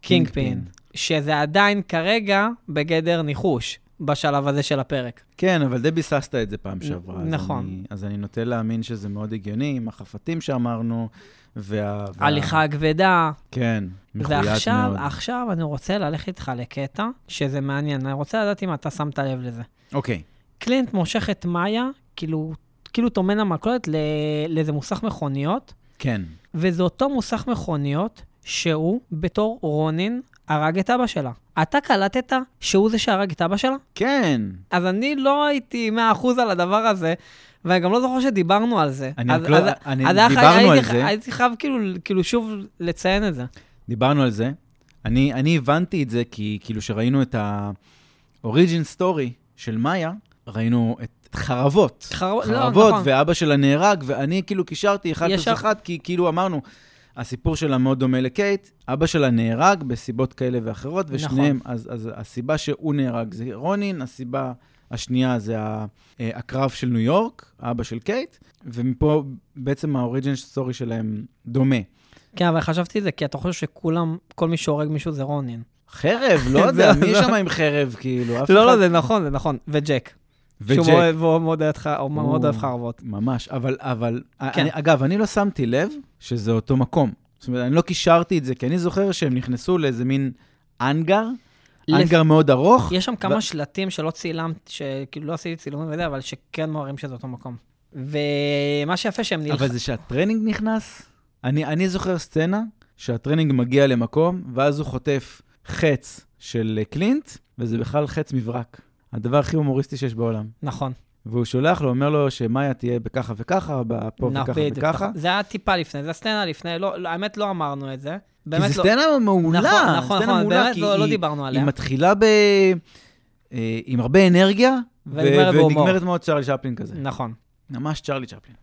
Speaker 2: קינג פין. שזה עדיין כרגע בגדר ניחוש בשלב הזה של הפרק.
Speaker 1: כן, אבל די ביססת את זה פעם שעברה. אז
Speaker 2: נכון.
Speaker 1: אני- אז אני נוטה להאמין שזה מאוד הגיוני, עם החפתים שאמרנו, וה... וה-
Speaker 2: הליכה הכבדה,
Speaker 1: כן, מחויית מאוד.
Speaker 2: ועכשיו, עכשיו אני רוצה ללכת איתך לקטע שזה מעניין. אני רוצה לדעת אם אתה שמת לב לזה.
Speaker 1: אוקיי,
Speaker 2: קלינט מושך את מאיה, כאילו, כאילו טומן המכולת ל- לאיזה מוסך מכוניות,
Speaker 1: כן.
Speaker 2: וזה אותו מוסך מכוניות שהוא, בתור רונין, הרג את אבא שלה. אתה קלטת שהוא זה שהרג את אבא שלה?
Speaker 1: כן.
Speaker 2: אז אני לא הייתי 100% על הדבר הזה, ואני גם לא זוכר שדיברנו על זה.
Speaker 1: אני
Speaker 2: אז,
Speaker 1: רק לא-
Speaker 2: אז,
Speaker 1: אני-
Speaker 2: אז היה-
Speaker 1: דיברנו על
Speaker 2: הייתי,
Speaker 1: זה.
Speaker 2: הייתי חייב כאילו, כאילו שוב לציין את זה.
Speaker 1: דיברנו על זה. אני, אני הבנתי את זה כי כאילו שראינו את ה-Origin Story של מאיה, ראינו את חרבות.
Speaker 2: חרב- לא,
Speaker 1: חרבות,
Speaker 2: נכון.
Speaker 1: ואבא שלה נהרג, ואני כאילו קישרתי אחד
Speaker 2: ישר-
Speaker 1: פלוס אחד, כי כאילו אמרנו, הסיפור שלה מאוד דומה לקייט, אבא שלה נהרג בסיבות כאלה ואחרות, ושניהם, נכון. אז, אז הסיבה שהוא נהרג זה רונין, הסיבה השנייה זה ה- אה, הקרב של ניו יורק, האבא של קייט, ומפה בעצם האוריג'ן סטורי שלהם דומה.
Speaker 2: כן, אבל חשבתי את זה, כי אתה חושב שכולם, כל מי שהורג מישהו זה רונין.
Speaker 1: חרב, לא יודע,
Speaker 2: זה-
Speaker 1: מי
Speaker 2: זה-
Speaker 1: שם עם חרב, כאילו, אף אחד...
Speaker 2: לא, לא, זה נכון, זה נכון. וג'ק. שהוא
Speaker 1: וג'ק.
Speaker 2: מאוד- והוא מאוד אוהב ח- הוא מאוד אוהב חרבות.
Speaker 1: ממש, אבל, אבל,
Speaker 2: כן.
Speaker 1: כן. אני, אגב, אני לא שמתי לב שזה אותו מקום. זאת אומרת, אני לא קישרתי את זה, כי אני זוכר שהם נכנסו לאיזה מין אנגר,
Speaker 2: לפ-
Speaker 1: אנגר מאוד ארוך,
Speaker 2: יש שם כמה
Speaker 1: ו-
Speaker 2: שלטים שלא צילמת, שכאילו לא עשיתי צילומים וזה, אבל שכן מראים שזה אותו מקום. ומה שיפה שהם
Speaker 1: אבל
Speaker 2: נלחמים,
Speaker 1: זה שהטרנינג נכנס, אני, אני זוכר סצנה שהטרנינג מגיע למקום, ואז הוא חוטף חץ של אה, קלינט, וזה בכלל חץ מברק. הדבר הכי הומוריסטי שיש בעולם.
Speaker 2: נכון.
Speaker 1: והוא שולח לו, אומר לו שמאיה תהיה בככה וככה, פה
Speaker 2: נכון,
Speaker 1: וככה
Speaker 2: בדיוק,
Speaker 1: וככה.
Speaker 2: נכון. זה היה טיפה לפני, זה סצנה לפני, לא, לא, האמת לא אמרנו את זה.
Speaker 1: כי
Speaker 2: באמת
Speaker 1: זו
Speaker 2: לא.
Speaker 1: סצנה מעולה,
Speaker 2: נכון, נכון,
Speaker 1: סצנה
Speaker 2: נכון,
Speaker 1: מעולה,
Speaker 2: באמת
Speaker 1: כי
Speaker 2: לא לא
Speaker 1: היא-
Speaker 2: דיברנו
Speaker 1: היא
Speaker 2: עליה.
Speaker 1: מתחילה ב... אה, עם הרבה אנרגיה, ו-
Speaker 2: ונגמרת בהומור.
Speaker 1: ונגמרת מאוד צ'רלי צ'פלין כזה.
Speaker 2: נכון.
Speaker 1: ממש צ'רלי צ'פלין.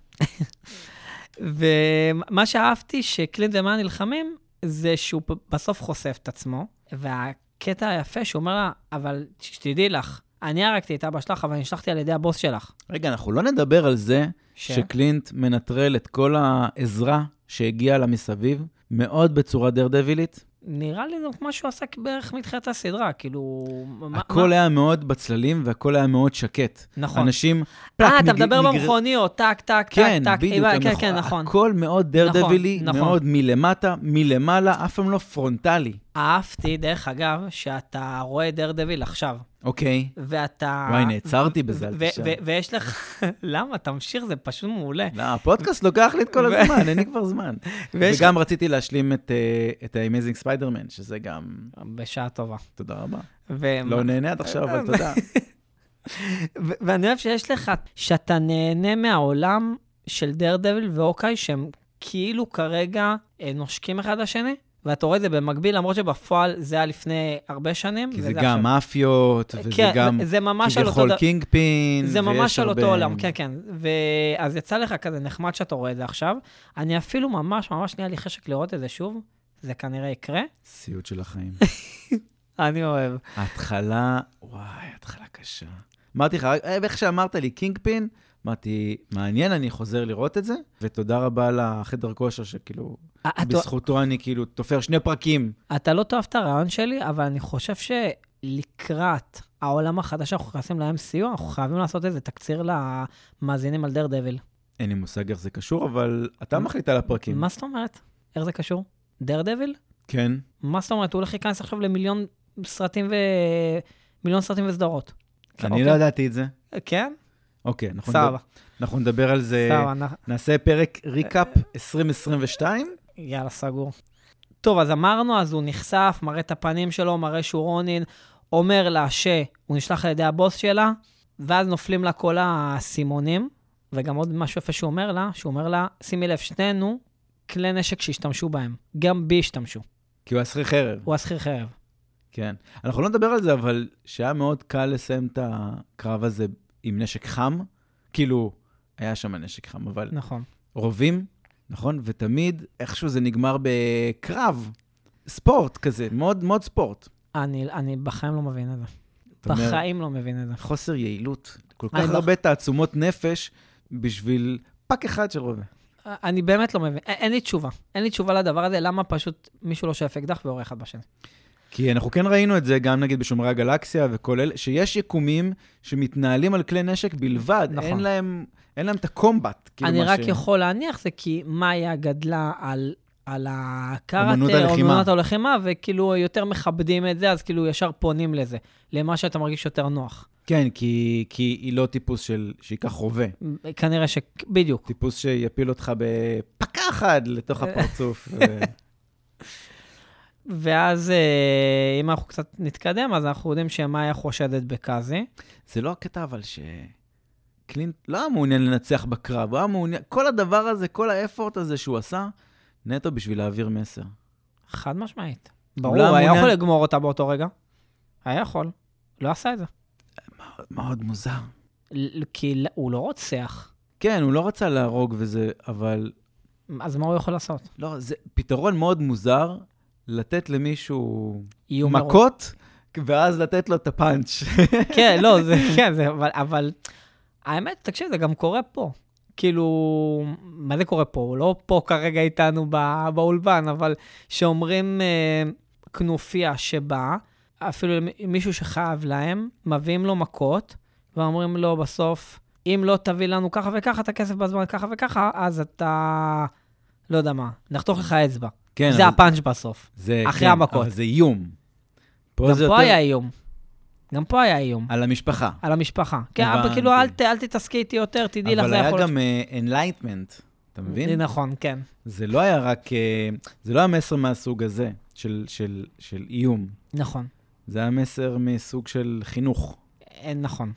Speaker 2: ומה שאהבתי שקלינט ומאן נלחמים, זה שהוא פ- בסוף חושף את עצמו, והקטע היפה שהוא אומר לה, אבל שתדעי לך, אני הרגתי את אבא שלך, אבל נשלחתי על ידי הבוס שלך.
Speaker 1: רגע, אנחנו לא נדבר על זה
Speaker 2: ש...
Speaker 1: שקלינט מנטרל את כל העזרה שהגיעה לה מסביב, מאוד בצורה דרדבילית.
Speaker 2: נראה לי זה כמו שהוא עשה בערך מתחילת הסדרה, כאילו... מה-
Speaker 1: הכל
Speaker 2: מה-
Speaker 1: היה מאוד בצללים והכל היה מאוד שקט.
Speaker 2: נכון.
Speaker 1: אנשים...
Speaker 2: אה, אתה
Speaker 1: נג-
Speaker 2: מדבר
Speaker 1: נגר-
Speaker 2: במכוניות, טק, טק, טק,
Speaker 1: כן,
Speaker 2: טק.
Speaker 1: בדיוק.
Speaker 2: אה, כן,
Speaker 1: המכו-
Speaker 2: כן, נכון.
Speaker 1: הכל מאוד דרדבילי,
Speaker 2: נכון, נכון.
Speaker 1: מאוד מלמטה, מלמעלה, אף פעם לא פרונטלי.
Speaker 2: אהבתי, דרך אגב, שאתה רואה דרדביל עכשיו,
Speaker 1: אוקיי.
Speaker 2: ואתה...
Speaker 1: וואי, נעצרתי בזה,
Speaker 2: ו-
Speaker 1: אל
Speaker 2: ו-
Speaker 1: תשאל.
Speaker 2: ו- ויש לך... למה? תמשיך, זה פשוט מעולה.
Speaker 1: לא, הפודקאסט לוקח לי את כל
Speaker 2: ו-
Speaker 1: הזמן, אין לי כבר זמן.
Speaker 2: ויש-
Speaker 1: וגם רציתי להשלים את, אה, את ה-Amazing Spider-Man, שזה גם...
Speaker 2: בשעה טובה.
Speaker 1: תודה רבה.
Speaker 2: ו-
Speaker 1: לא נהנה עד עכשיו, אבל תודה.
Speaker 2: ו- ואני אוהב שיש לך, שאתה נהנה מהעולם של דרדביל ואוקיי, שהם כאילו כרגע אה, נושקים אחד לשני, ואתה רואה את זה במקביל, למרות שבפועל זה היה לפני הרבה שנים.
Speaker 1: כי זה
Speaker 2: וזה
Speaker 1: גם מאפיות,
Speaker 2: עכשיו.
Speaker 1: וזה
Speaker 2: כן,
Speaker 1: גם
Speaker 2: זה ממש על אותו
Speaker 1: כביכול
Speaker 2: דבר.
Speaker 1: קינג פין,
Speaker 2: זה ממש
Speaker 1: ויש
Speaker 2: על
Speaker 1: הרבה-
Speaker 2: אותו עולם, כן, כן. ואז יצא לך כזה נחמד שאתה רואה את זה עכשיו. אני אפילו ממש ממש נהיה לי חשק לראות את זה שוב, זה כנראה יקרה.
Speaker 1: סיוט של החיים.
Speaker 2: אני אוהב.
Speaker 1: ההתחלה, וואי, התחלה קשה. אמרתי לך, אה, איך שאמרת לי קינג פין, אמרתי, מעניין, אני חוזר לראות את זה, ותודה רבה לחדר כושר, שכאילו,
Speaker 2: אה, אתה-
Speaker 1: בזכותו אני כאילו תופר שני פרקים.
Speaker 2: אתה לא תאהב את הרעיון שלי, אבל אני חושב שלקראת העולם החדש שאנחנו נכנסים ל-MCU, אנחנו חייבים לעשות איזה תקציר למאזינים על דר דביל.
Speaker 1: אין לי מושג איך זה קשור, אבל אתה מחליט על הפרקים.
Speaker 2: מה זאת אומרת? איך זה קשור? דר דביל?
Speaker 1: כן.
Speaker 2: מה זאת אומרת? הוא הולך להיכנס עכשיו למיליון סרטים ו... מיליון סרטים וסדרות.
Speaker 1: אני
Speaker 2: אוקיי.
Speaker 1: לא ידעתי את זה.
Speaker 2: כן?
Speaker 1: אוקיי, אנחנו
Speaker 2: סבבה,
Speaker 1: נדבר- אנחנו נדבר על זה.
Speaker 2: סבבה, אנחנו-
Speaker 1: נעשה פרק ריקאפ 2022.
Speaker 2: יאללה, סגור. טוב, אז אמרנו, אז הוא נחשף, מראה את הפנים שלו, מראה שהוא רונין, אומר לה שהוא נשלח על ידי הבוס שלה, ואז נופלים לה כל האסימונים, וגם עוד משהו יפה שהוא אומר לה, שהוא אומר לה, שימי לב, שנינו כלי נשק שהשתמשו בהם, גם בי השתמשו,
Speaker 1: כי הוא היה שכיר חרב.
Speaker 2: הוא השכיר חרב.
Speaker 1: כן. אנחנו לא נדבר על זה, אבל שהיה מאוד קל לסיים את הקרב הזה עם נשק חם. כאילו, היה שם נשק חם, אבל
Speaker 2: נכון.
Speaker 1: רובים, נכון? ותמיד איכשהו זה נגמר בקרב, ספורט כזה, מאוד מאוד ספורט.
Speaker 2: אני, אני בחיים לא מבין את זה.
Speaker 1: אתה אומר,
Speaker 2: בחיים לא מבין את זה.
Speaker 1: חוסר יעילות. כל
Speaker 2: אני
Speaker 1: כך
Speaker 2: לא-
Speaker 1: הרבה תעצומות נפש בשביל פאק אחד של רובה.
Speaker 2: אני באמת לא מבין, א- אין לי תשובה. אין לי תשובה לדבר הזה, למה פשוט מישהו לא שואף אקדח ויורה אחד בשני.
Speaker 1: כי אנחנו כן ראינו את זה גם נגיד בשומרי הגלקסיה וכל אלה, שיש יקומים שמתנהלים על כלי נשק בלבד,
Speaker 2: נכון.
Speaker 1: נכון. אין, להם, אין להם את הקומבט. כאילו
Speaker 2: אני
Speaker 1: מה
Speaker 2: רק
Speaker 1: ש-
Speaker 2: יכול להניח זה כי מאיה גדלה על, על
Speaker 1: אמנות
Speaker 2: הקראטה,
Speaker 1: הלחימה.
Speaker 2: אומנות הלחימה, וכאילו יותר מכבדים את זה, אז כאילו ישר פונים לזה, למה שאתה מרגיש יותר נוח.
Speaker 1: כן, כי, כי היא לא טיפוס של... שייקח רובה.
Speaker 2: כנראה ש... בדיוק.
Speaker 1: טיפוס שיפיל אותך בפקה אחת לתוך הפרצוף. ו...
Speaker 2: ואז אה, אם אנחנו קצת נתקדם, אז אנחנו יודעים שמאיה חושדת בקאזי.
Speaker 1: זה לא הקטע אבל ש... קלינט לא היה מעוניין לנצח בקרב, הוא היה מעוניין... כל הדבר הזה, כל האפורט הזה שהוא עשה, נטו בשביל להעביר מסר. לא
Speaker 2: חד משמעית. ברור,
Speaker 1: אולי
Speaker 2: הוא היה
Speaker 1: המעוניין-
Speaker 2: יכול לגמור אותה באותו רגע. היה יכול. לא עשה את זה.
Speaker 1: מאוד מוזר.
Speaker 2: ל- כי הוא לא רוצח.
Speaker 1: כן, הוא לא רצה להרוג וזה, אבל
Speaker 2: אז מה הוא יכול לעשות?
Speaker 1: לא, זה פתרון מאוד מוזר לתת למישהו
Speaker 2: איום מרוב.
Speaker 1: מכות, ואז לתת לו את הפאנץ'.
Speaker 2: כן, לא, זה, כן, זה, אבל, אבל האמת, תקשיב, זה גם קורה פה. כאילו, מה זה קורה פה? הוא לא פה כרגע איתנו בא, באולפן, אבל שאומרים אה, כנופיה שבאה, אפילו למי- מישהו שחייב להם, מביאים לו מכות, ואומרים לו בסוף, אם לא תביא לנו ככה וככה את הכסף בזמן ככה וככה, אז אתה, לא יודע מה, נחתוך לך אצבע.
Speaker 1: כן,
Speaker 2: זה הפאנץ' בסוף.
Speaker 1: זה, כן,
Speaker 2: אחרי המכות.
Speaker 1: אבל זה איום. פה
Speaker 2: גם
Speaker 1: זה
Speaker 2: פה
Speaker 1: יותר
Speaker 2: היה איום. גם פה היה איום.
Speaker 1: על המשפחה.
Speaker 2: על המשפחה. כן,
Speaker 1: הבנתי.
Speaker 2: אבל כאילו, אל, ת, אל תתעסקי איתי יותר, תדעי לך,
Speaker 1: אבל
Speaker 2: זה
Speaker 1: היה
Speaker 2: יכול
Speaker 1: גם אנלייטמנט, אתה מבין?
Speaker 2: נכון, כן.
Speaker 1: זה לא היה רק... אה, זה לא היה מסר מהסוג הזה, של- של של איום.
Speaker 2: נכון.
Speaker 1: זה היה מסר מסוג של חינוך.
Speaker 2: אה, נכון.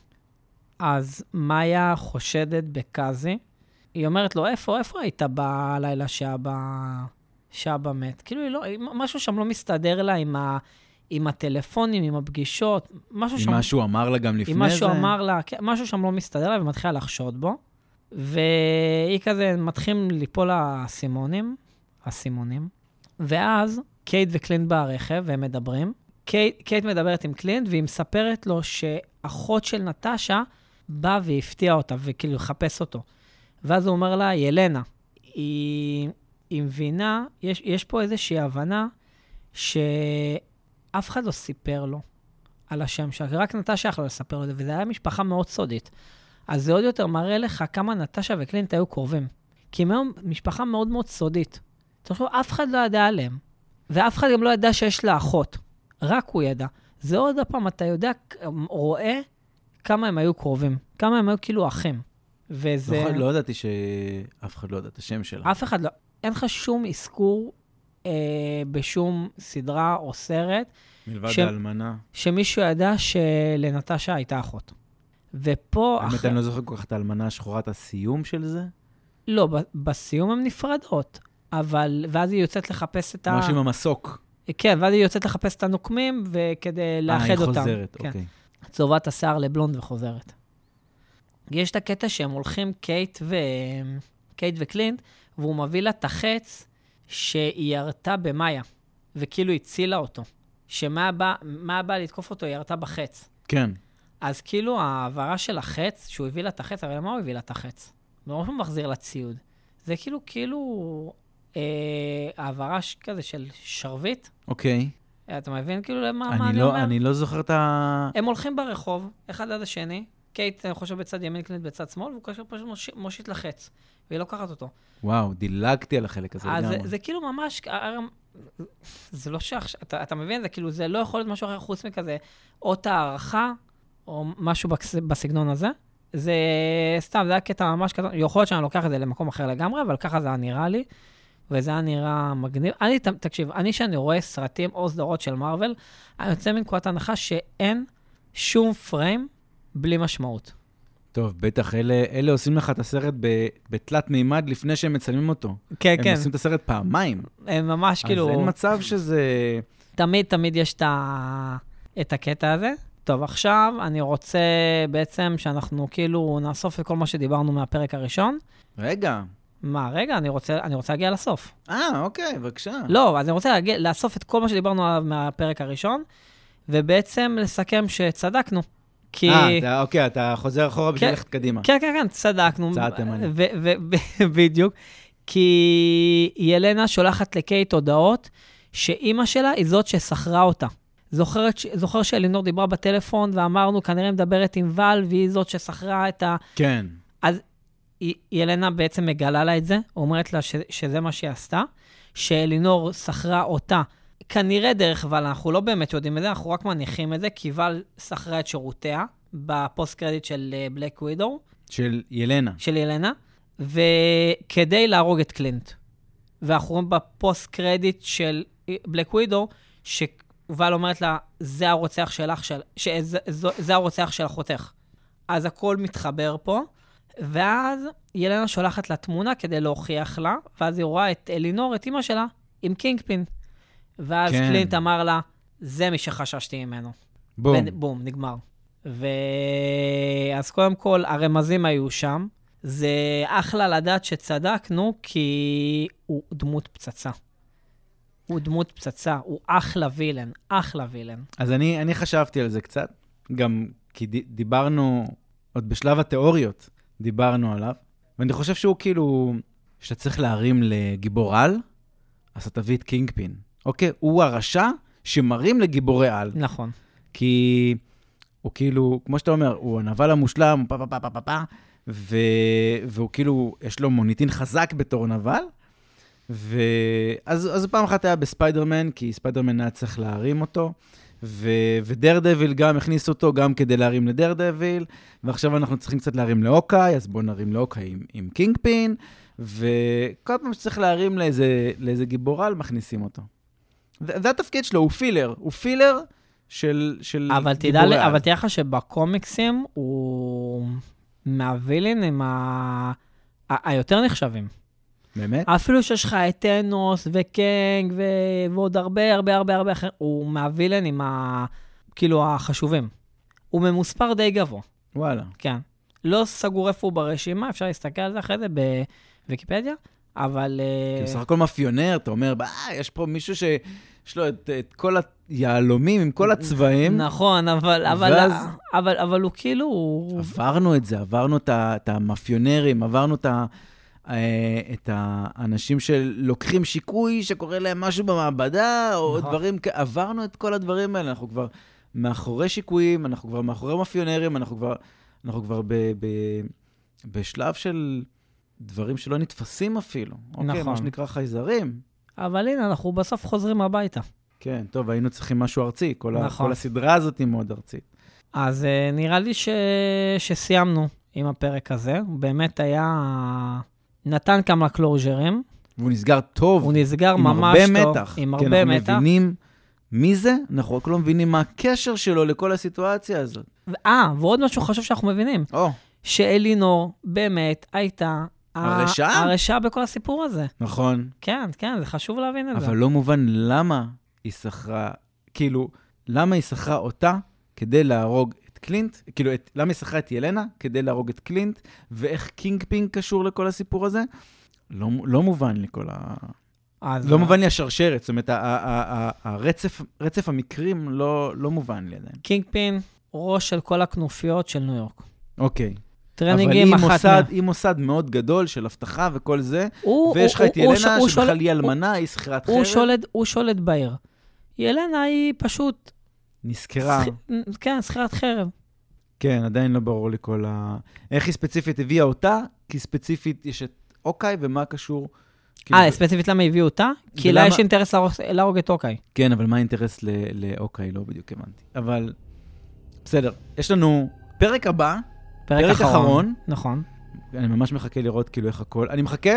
Speaker 2: אז מאיה חושדת בקאזי. היא אומרת לו, איפה, איפה היית בלילה שאבא, שאבא מת? כאילו, היא לא, היא- משהו שם לא מסתדר לה עם, ה, עם הטלפונים, עם הפגישות, משהו שם...
Speaker 1: עם מה שהוא אמר לה גם לפני זה.
Speaker 2: עם מה שהוא אמר לה, כן, משהו שם לא מסתדר לה ומתחילה לחשוד בו. והיא כזה, מתחילים ליפול האסימונים, הסימונים, ואז קייט וקלינט ברכב, והם מדברים. קייט, קייט מדברת עם קלינט, והיא מספרת לו שאחות של נטשה באה והפתיעה אותה, וכאילו לחפש אותו. ואז הוא אומר לה, ילנה, היא, היא מבינה, יש, יש פה איזושהי הבנה שאף אחד לא סיפר לו על השם שלה, רק נטשה יכלה לספר לו את זה, וזו הייתה משפחה מאוד סודית. אז זה עוד יותר מראה לך כמה נטשה וקלינט היו קרובים. כי הם היו משפחה מאוד מאוד סודית. תחשוב, אף אחד לא ידע עליהם, ואף אחד גם לא ידע שיש לה אחות, רק הוא ידע. זה עוד הפעם, אתה יודע, רואה כמה הם היו קרובים, כמה הם היו כאילו אחים. וזה...
Speaker 1: לא, לא ידעתי שאף אחד לא יודע את השם שלה.
Speaker 2: אף אחד לא, אין לך שום אזכור אה, בשום סדרה או סרט
Speaker 1: מלבד
Speaker 2: שם-
Speaker 1: האלמנה.
Speaker 2: שמישהו ידע שלנטשה הייתה אחות. ופה,
Speaker 1: האמת,
Speaker 2: אחרי...
Speaker 1: אני לא זוכר כל כך את האלמנה השחורה, את הסיום של זה.
Speaker 2: לא, ב- בסיום הן נפרדות, אבל... ואז היא יוצאת לחפש את ה...
Speaker 1: משהו עם המסוק. אה,
Speaker 2: כן, ואז היא יוצאת לחפש את הנוקמים וכדי לאחד אותם.
Speaker 1: אה, היא חוזרת,
Speaker 2: כן.
Speaker 1: אוקיי.
Speaker 2: צובעת את השיער לבלונד וחוזרת. יש את הקטע שהם הולכים, קייט, ו... קייט וקלינט, והוא מביא לה את החץ שהיא ירתה במאיה, וכאילו הצילה אותו. שמה בא, מה בא לתקוף אותו, היא ירתה בחץ.
Speaker 1: כן.
Speaker 2: אז כאילו ההעברה של החץ, שהוא הביא לה את החץ, הרי למה הוא הביא לה את החץ? לא שהוא מחזיר לה ציוד. זה כאילו, כאילו, אה, העברה ש- כזה של שרביט.
Speaker 1: אוקיי.
Speaker 2: אתה מבין כאילו למה מה
Speaker 1: אני
Speaker 2: אני
Speaker 1: לא-
Speaker 2: אומר?
Speaker 1: אני לא זוכר את ה...
Speaker 2: הם הולכים ברחוב, אחד עד השני, קייט, אני חושב, בצד ימין, קלינט בצד שמאל, והוא כאשר פשוט מוש- מושיט לחץ, והיא לוקחת אותו.
Speaker 1: וואו, דילגתי על החלק הזה
Speaker 2: אז זה,
Speaker 1: לגמרי.
Speaker 2: זה כאילו ממש, הרי- זה לא שעכשיו, אתה, אתה מבין? זה כאילו, זה לא יכול להיות משהו אחר חוץ מכזה, אות הערכה, או משהו בקס, בסגנון הזה. זה סתם, זה היה קטע ממש קטן, יכול להיות שאני לוקח את זה למקום אחר לגמרי, אבל ככה זה היה נראה לי, וזה היה נראה מגניב. אני, ת- תקשיב, אני, כשאני רואה סרטים או סדרות של מארוול, אני יוצא מנקודת הנחה שאין שום פריים בלי משמעות.
Speaker 1: טוב, בטח, אלה אלה עושים לך את הסרט ב- בתלת מימד לפני שהם מצלמים אותו.
Speaker 2: כן,
Speaker 1: הם
Speaker 2: כן,
Speaker 1: עושים את הסרט פעמיים.
Speaker 2: הם ממש כאילו...
Speaker 1: אז אין מצב שזה...
Speaker 2: תמיד תמיד יש את, ה... את הקטע הזה. טוב, עכשיו אני רוצה בעצם שאנחנו כאילו נאסוף את כל מה שדיברנו מהפרק הראשון.
Speaker 1: רגע.
Speaker 2: מה, רגע, אני רוצה, אני רוצה להגיע לסוף.
Speaker 1: אה, אוקיי, בבקשה.
Speaker 2: לא, אז אני רוצה להגיע, לאסוף את כל מה שדיברנו עליו מהפרק הראשון, ובעצם לסכם שצדקנו. כי...
Speaker 1: אה, אתה- אוקיי, אתה חוזר אחורה בשביל
Speaker 2: כן.
Speaker 1: ללכת קדימה.
Speaker 2: כן, כן, כן, צדקנו.
Speaker 1: צעד תימני.
Speaker 2: ו- ו- ו- בדיוק. כי ילנה שולחת לקייט הודעות שאימא שלה היא זאת ששכרה אותה. זוכרת, ש- זוכר שאלינור דיברה בטלפון ואמרנו, כנראה מדברת עם ואל, והיא זאת ששכרה את ה...
Speaker 1: כן.
Speaker 2: היא- ילנה בעצם מגלה לה את זה, אומרת לה ש- שזה מה שהיא עשתה, שאלינור שכרה אותה, כנראה דרך ואל, אנחנו לא באמת יודעים את זה, אנחנו רק מניחים את זה, כי ואל שכרה את שירותיה בפוסט קרדיט של אה, בלק ווידור.
Speaker 1: של ילנה.
Speaker 2: של ילנה, וכדי להרוג את קלינט. ואנחנו רואים בפוסט קרדיט של בלק ווידו, שוואל אומרת לה, זה הרוצח שלך, של... ש... זה, זו- זה הרוצח של אחותך. אז הכל מתחבר פה, ואז ילנה שולחת לה תמונה כדי להוכיח לה, ואז היא רואה את אלינור, את אימא שלה, עם קינגפין. ואז
Speaker 1: כן.
Speaker 2: כן. קלינט אמר לה, זה מי שחששתי ממנו.
Speaker 1: בום.
Speaker 2: ו- בום, נגמר. ו- אז קודם כל, הרמזים היו שם. זה אחלה לדעת שצדקנו, כי הוא דמות פצצה. הוא דמות פצצה, הוא אחלה וילן, אחלה וילן.
Speaker 1: אז אני, אני חשבתי על זה קצת, גם כי ד- דיברנו, עוד בשלב התיאוריות דיברנו עליו, ואני חושב שהוא כאילו, כשאתה צריך להרים לגיבור על, אז אתה תביא את קינג פין. אוקיי? הוא הרשע שמרים לגיבורי על.
Speaker 2: נכון.
Speaker 1: כי הוא כאילו, כמו שאתה אומר, הוא הנבל המושלם, הוא פה פה פה פה פה פה, ו... והוא כאילו, יש לו מוניטין חזק בתור נבל. ואז אז פעם אחת היה בספיידרמן, כי ספיידרמן היה צריך להרים אותו, ו... ודר דביל גם הכניס אותו, גם כדי להרים לדר דביל, ועכשיו אנחנו צריכים קצת להרים לאוקיי, אז בואו נרים לאוקיי עם, עם קינג פין, וכל פעם שצריך להרים לאיזה, לאיזה גיבורל, מכניסים אותו. זה, זה התפקיד שלו, הוא פילר, הוא פילר של, של
Speaker 2: אבל תדע,
Speaker 1: גיבורי
Speaker 2: לי-
Speaker 1: על.
Speaker 2: אבל תדע לך שבקומיקסים הוא מהווילנים ה... ה- היותר נחשבים.
Speaker 1: באמת?
Speaker 2: אפילו שיש לך את טנוס וקנג ו... ועוד הרבה הרבה הרבה הרבה אחרים, הוא מהווילנים ה... כאילו החשובים. הוא ממוספר די גבוה,
Speaker 1: וואלה.
Speaker 2: כן. לא סגור איפה הוא ברשימה, אפשר להסתכל על זה אחרי זה בוויקיפדיה, אבל... אה,
Speaker 1: כי בסך כאילו, הכל מאפיונר, אתה אומר, "אה, יש פה מישהו שיש לו את, את כל היהלומים עם כל הצבעים.
Speaker 2: נכון, אבל, אבל,
Speaker 1: ואז-
Speaker 2: אבל, אבל הוא כאילו... הוא-
Speaker 1: עברנו את זה, עברנו את ה- את המאפיונרים, עברנו את ה- אה, את האנשים שלוקחים שיקוי שקורה להם משהו במעבדה, או
Speaker 2: נכון.
Speaker 1: דברים כאלה, עברנו את כל הדברים האלה, אנחנו כבר מאחורי שיקויים, אנחנו כבר מאחורי מאפיונרים, אנחנו כבר, אנחנו כבר ב, ב, בשלב של דברים שלא נתפסים אפילו. אוקיי,
Speaker 2: נכון.
Speaker 1: מה שנקרא חייזרים.
Speaker 2: אבל הנה, אנחנו בסוף חוזרים הביתה.
Speaker 1: כן, טוב, היינו צריכים משהו ארצי, כל, נכון.
Speaker 2: נכון.
Speaker 1: ה, כל הסדרה הזאת היא מאוד ארצית.
Speaker 2: אז אה, נראה לי ש... שסיימנו עם הפרק הזה. הוא באמת היה... נתן כמה קלוז'רים.
Speaker 1: והוא נסגר טוב.
Speaker 2: הוא נסגר
Speaker 1: עם
Speaker 2: ממש
Speaker 1: הרבה
Speaker 2: טוב.
Speaker 1: מתח.
Speaker 2: עם
Speaker 1: כי
Speaker 2: הרבה
Speaker 1: אנחנו לא
Speaker 2: מתח.
Speaker 1: מבינים מי זה, אנחנו רק לא מבינים מה הקשר שלו לכל הסיטואציה הזאת.
Speaker 2: ו- אה, ועוד משהו חשוב שאנחנו מבינים,
Speaker 1: או,
Speaker 2: שאלינור באמת הייתה... ה-
Speaker 1: הרשעה?
Speaker 2: הרשעה בכל הסיפור הזה.
Speaker 1: נכון,
Speaker 2: כן, כן, זה חשוב להבין את זה.
Speaker 1: אבל לא מובן למה היא שכרה, כאילו, למה היא שכרה אותה כדי להרוג את קלינט, כאילו, את, למה היא שכרה את ילנה כדי להרוג את קלינט, ואיך קינג פינג קשור לכל הסיפור הזה? לא, לא מובן לי כל ה...
Speaker 2: אז-
Speaker 1: לא מובן לי השרשרת, זאת אומרת, ה- ה- ה- ה- הרצף רצף המקרים לא לא מובן לי עדיין.
Speaker 2: קינג פין, ראש של כל הכנופיות של ניו יורק.
Speaker 1: אוקיי. אבל היא
Speaker 2: טרנינגים אחת...
Speaker 1: מוסד-
Speaker 2: מה-
Speaker 1: היא מוסד מאוד גדול של אבטחה וכל זה,
Speaker 2: הוא-
Speaker 1: ויש לך
Speaker 2: הוא-
Speaker 1: את
Speaker 2: הוא- הוא
Speaker 1: ילנה,
Speaker 2: ש- הוא שולט-
Speaker 1: שבכלל היא
Speaker 2: הוא-
Speaker 1: אלמנה, היא שכירת
Speaker 2: הוא
Speaker 1: חרב,
Speaker 2: שולט, הוא שולט בעיר. ילנה היא פשוט,
Speaker 1: נזכרה.
Speaker 2: שכ- כן, שכירת חרב.
Speaker 1: כן, עדיין לא ברור לי כל ה... איך היא ספציפית הביאה אותה, כי ספציפית יש את אוקיי, ומה קשור... כאילו-
Speaker 2: אה, ספציפית למה הביאו אותה? כי לה
Speaker 1: ולמה-
Speaker 2: יש אינטרס להרוג- להרוג את אוקיי.
Speaker 1: כן, אבל מה האינטרס ל- לאוקיי? לא בדיוק הבנתי. אבל בסדר, יש לנו... פרק הבא, פרק אחרון.
Speaker 2: נכון.
Speaker 1: אני ממש מחכה לראות כאילו איך הכל... אני מחכה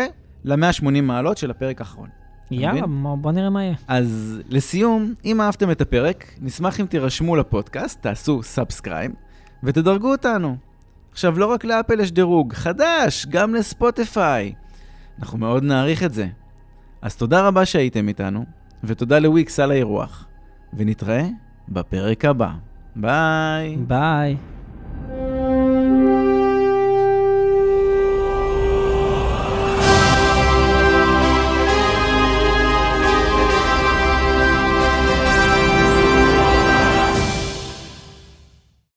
Speaker 1: ל-180 מעלות של הפרק האחרון.
Speaker 2: יאללה, בוא- בוא נראה מה יהיה.
Speaker 1: אז לסיום, אם אהבתם את הפרק, נשמח אם תירשמו לפודקאסט, תעשו סאבסקרייב ותדרגו אותנו. עכשיו, לא רק לאפל יש דירוג, חדש, גם לספוטיפיי. אנחנו מאוד נעריך את זה. אז תודה רבה שהייתם איתנו, ותודה לוויקס על האירוח. ונתראה בפרק הבא. ביי.
Speaker 2: ביי.